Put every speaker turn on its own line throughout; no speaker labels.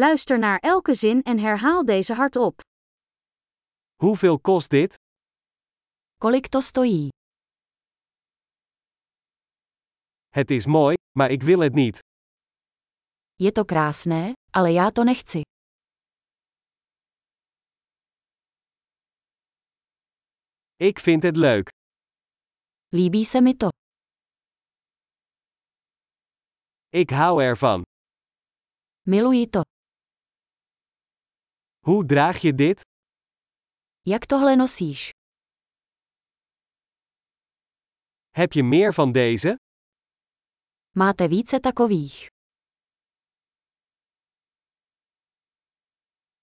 Luister naar elke zin en herhaal deze hardop.
Hoeveel kost dit?
Kolik to stojí?
Het is mooi, maar ik wil het niet.
Je to krásné, ale já to nechci.
Ik vind het leuk.
Líbí se mi to.
Ik hou ervan.
Miluji to.
Hoe draag je dit?
Jak tohle nosíš?
Heb je meer van deze?
Máte více takových.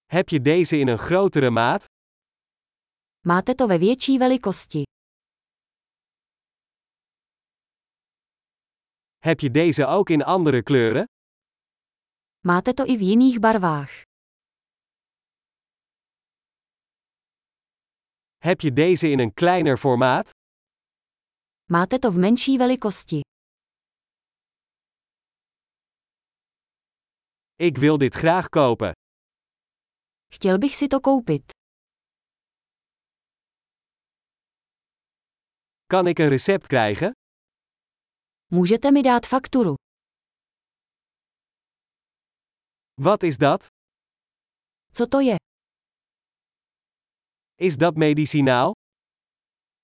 Heb je deze in een grotere maat?
Máte to ve větší velikosti.
Heb je deze ook in andere kleuren?
Máte to i v jiných barvách.
Heb je deze in een kleiner formaat?
Máte to v menší velikosti.
Ik wil dit graag kopen.
Chtěl bych si to koupit.
Kan ik een recept krijgen?
Můžete mi dát fakturu.
Wat is dat?
Co to je?
Is dat medicinaal?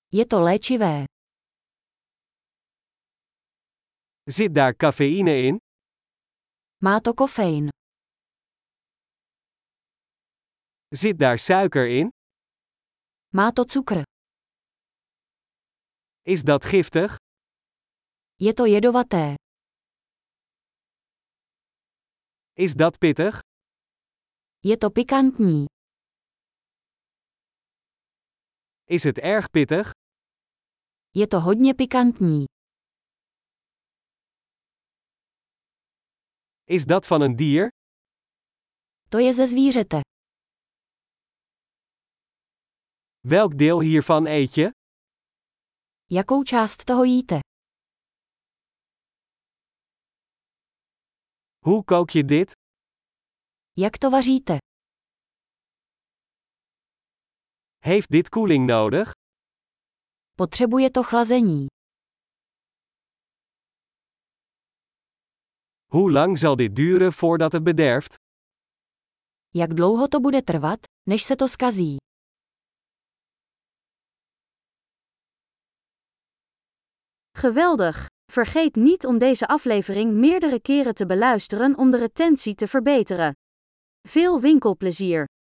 Je to léčivé.
Zit daar cafeïne in?
Má to kofein.
Zit daar suiker in?
Má to cukr.
Is dat giftig?
Je to jedovaté.
Is dat pittig?
Je to pikantní.
Is het erg pittig?
Je to hodně pikantní.
Is dat van een dier?
To je ze zvířete.
Welk deel hiervan eet je?
Jakou část toho jíte?
Hoe kook je dit?
Jak to vaříte?
Heeft dit koeling nodig?
Potřebuje to chlazení.
Hoe lang zal dit duren voordat het bederft?
Jak dlouho to bude trvat, než se to skazí? Geweldig! Vergeet niet om deze aflevering meerdere keren te beluisteren om de retentie te verbeteren. Veel winkelplezier!